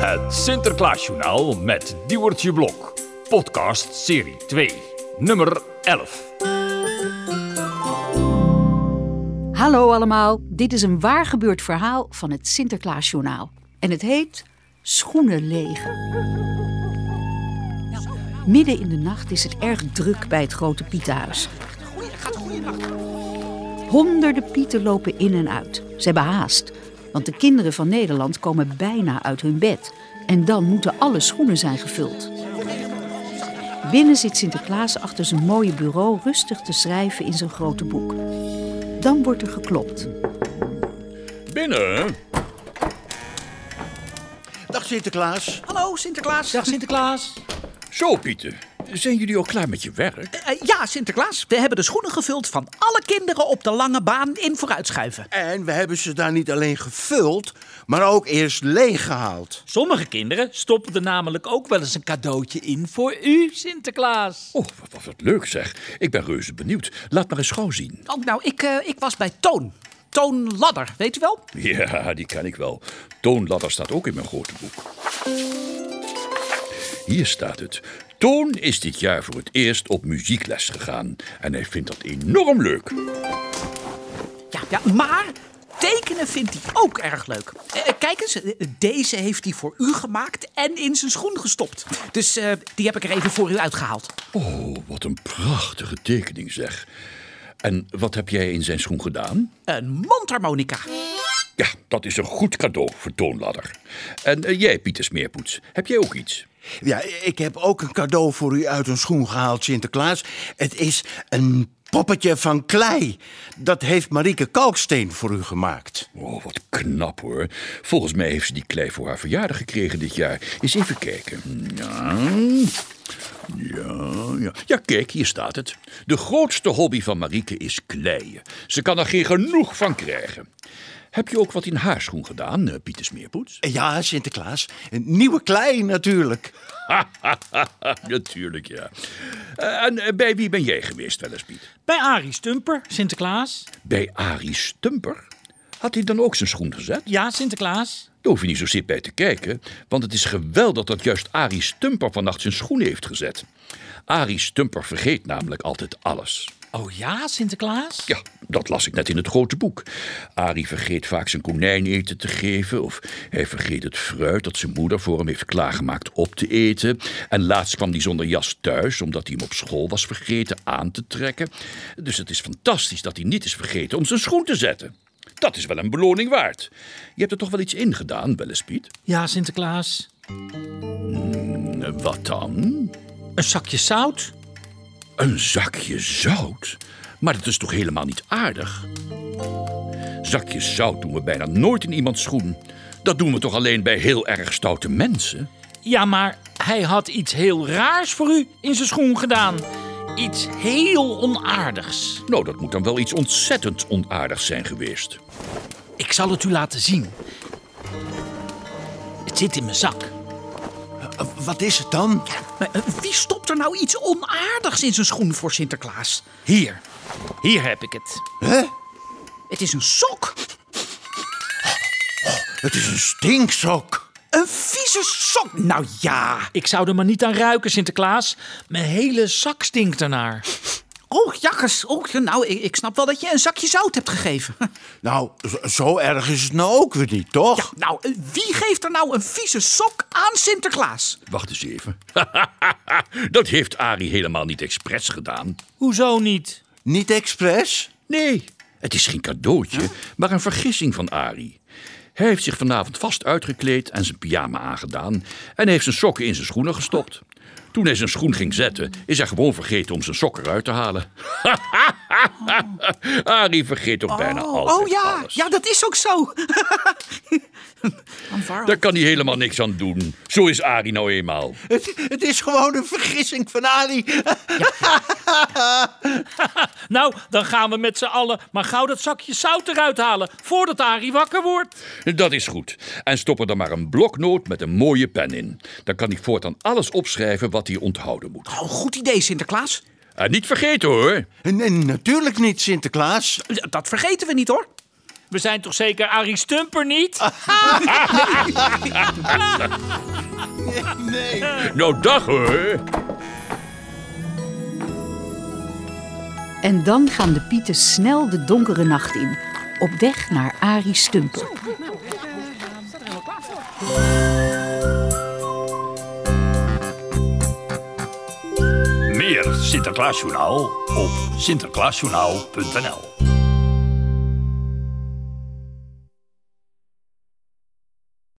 Het Sinterklaasjournaal met Diewertje Blok. Podcast serie 2, nummer 11. Hallo allemaal, dit is een waar gebeurd verhaal van het Sinterklaasjournaal. En het heet Schoenen legen. Midden in de nacht is het erg druk bij het grote Pietenhuis. Honderden Pieten lopen in en uit. Ze hebben haast, want de kinderen van Nederland komen bijna uit hun bed. En dan moeten alle schoenen zijn gevuld. Binnen zit Sinterklaas achter zijn mooie bureau rustig te schrijven in zijn grote boek. Dan wordt er geklopt. Binnen? Dag Sinterklaas. Hallo Sinterklaas. Dag Sinterklaas. Zo, Pieter. Zijn jullie al klaar met je werk? Eh, ja, Sinterklaas. We hebben de schoenen gevuld van alle kinderen op de lange baan in vooruitschuiven. En we hebben ze daar niet alleen gevuld, maar ook eerst leeggehaald. Sommige kinderen stoppen er namelijk ook wel eens een cadeautje in voor u, Sinterklaas. Oh, wat, wat, wat leuk zeg. Ik ben reuze benieuwd. Laat maar eens gauw zien. Oh, nou, ik, eh, ik was bij Toon. Toon Ladder, weet u wel? Ja, die ken ik wel. Toon Ladder staat ook in mijn grote boek. Hier staat het. Toon is dit jaar voor het eerst op muziekles gegaan. En hij vindt dat enorm leuk. Ja, ja maar tekenen vindt hij ook erg leuk. Eh, eh, kijk eens, eh, deze heeft hij voor u gemaakt en in zijn schoen gestopt. Dus eh, die heb ik er even voor u uitgehaald. Oh, wat een prachtige tekening zeg. En wat heb jij in zijn schoen gedaan? Een mondharmonica. Ja, dat is een goed cadeau voor Toon Ladder. En eh, jij, Pieter Smeerpoets, heb jij ook iets? Ja, ik heb ook een cadeau voor u uit een schoen gehaald, Sinterklaas. Het is een poppetje van klei. Dat heeft Marieke Kalksteen voor u gemaakt. Oh, wat knap hoor. Volgens mij heeft ze die klei voor haar verjaardag gekregen dit jaar. Eens even kijken. Ja. Ja, ja. ja, kijk, hier staat het. De grootste hobby van Marieke is kleien. Ze kan er geen genoeg van krijgen. Heb je ook wat in haar schoen gedaan, eh, Pieter Smeerpoets? Ja, Sinterklaas. Een nieuwe klei natuurlijk. Natuurlijk, ja. Eh, En eh, bij wie ben jij geweest, wel eens, Piet? Bij Arie Stumper, Sinterklaas. Bij Arie Stumper? Had hij dan ook zijn schoen gezet? Ja, Sinterklaas. Daar hoef je niet zo zit bij te kijken, want het is geweldig dat juist Arie Stumper vannacht zijn schoenen heeft gezet. Arie Stumper vergeet namelijk altijd alles. Oh ja, Sinterklaas. Ja, dat las ik net in het grote boek. Arie vergeet vaak zijn konijn eten te geven, of hij vergeet het fruit dat zijn moeder voor hem heeft klaargemaakt op te eten. En laatst kwam hij zonder jas thuis, omdat hij hem op school was vergeten aan te trekken. Dus het is fantastisch dat hij niet is vergeten om zijn schoen te zetten. Dat is wel een beloning waard. Je hebt er toch wel iets in gedaan, wel eens, Piet? Ja, Sinterklaas. Eh, Wat dan? Een zakje zout. Een zakje zout? Maar dat is toch helemaal niet aardig? Zakjes zout doen we bijna nooit in iemands schoen. Dat doen we toch alleen bij heel erg stoute mensen? Ja, maar hij had iets heel raars voor u in zijn schoen gedaan. Iets heel onaardigs. Nou, dat moet dan wel iets ontzettend onaardigs zijn geweest. Ik zal het u laten zien. Het zit in mijn zak. Eh, Wat is het dan? Maar eh, wie stopt er nou iets onaardigs in zijn schoen voor Sinterklaas? Hier. Hier heb ik het. Het is een sok. Het is een stinksok. Een vieze sok. Nou ja. Ik zou er maar niet aan ruiken, Sinterklaas. Mijn hele zak stinkt ernaar. Oh, jakkers. Oh, ja, nou, ik, ik snap wel dat je een zakje zout hebt gegeven. Nou, zo- zo erg is het nou ook weer niet, toch? Ja, nou, eh, wie geeft er nou een vieze sok aan Sinterklaas? Wacht eens even. dat heeft Arie helemaal niet expres gedaan. Hoezo niet? Niet expres? Nee, het is geen cadeautje, maar een vergissing van Arie. Hij heeft zich vanavond vast uitgekleed en zijn pyjama aangedaan... en heeft zijn sokken in zijn schoenen gestopt. Toen hij zijn schoen ging zetten, is hij gewoon vergeten om zijn sokken eruit te halen. Arie vergeet toch bijna altijd oh ja, alles. ja, dat is ook zo. Daar kan hij helemaal niks aan doen. Zo is Arie nou eenmaal. Het, het is gewoon een vergissing van Ali. Nou, dan gaan we met z'n allen maar gauw dat zakje zout eruit halen... voordat Arie wakker wordt. Dat is goed. En stop er dan maar een bloknoot met een mooie pen in. Dan kan hij voortaan alles opschrijven wat hij onthouden moet. Oh, goed idee, Sinterklaas. En niet vergeten hoor. Nee, natuurlijk niet, Sinterklaas. Eh, Dat vergeten we niet, hoor. We zijn toch zeker Arie Stumper niet? Nou, dag hoor. En dan gaan de pieten snel de donkere nacht in, op weg naar Arie Stumper. Meer Sinterklaasjournaal op sinterklaasjournaal.nl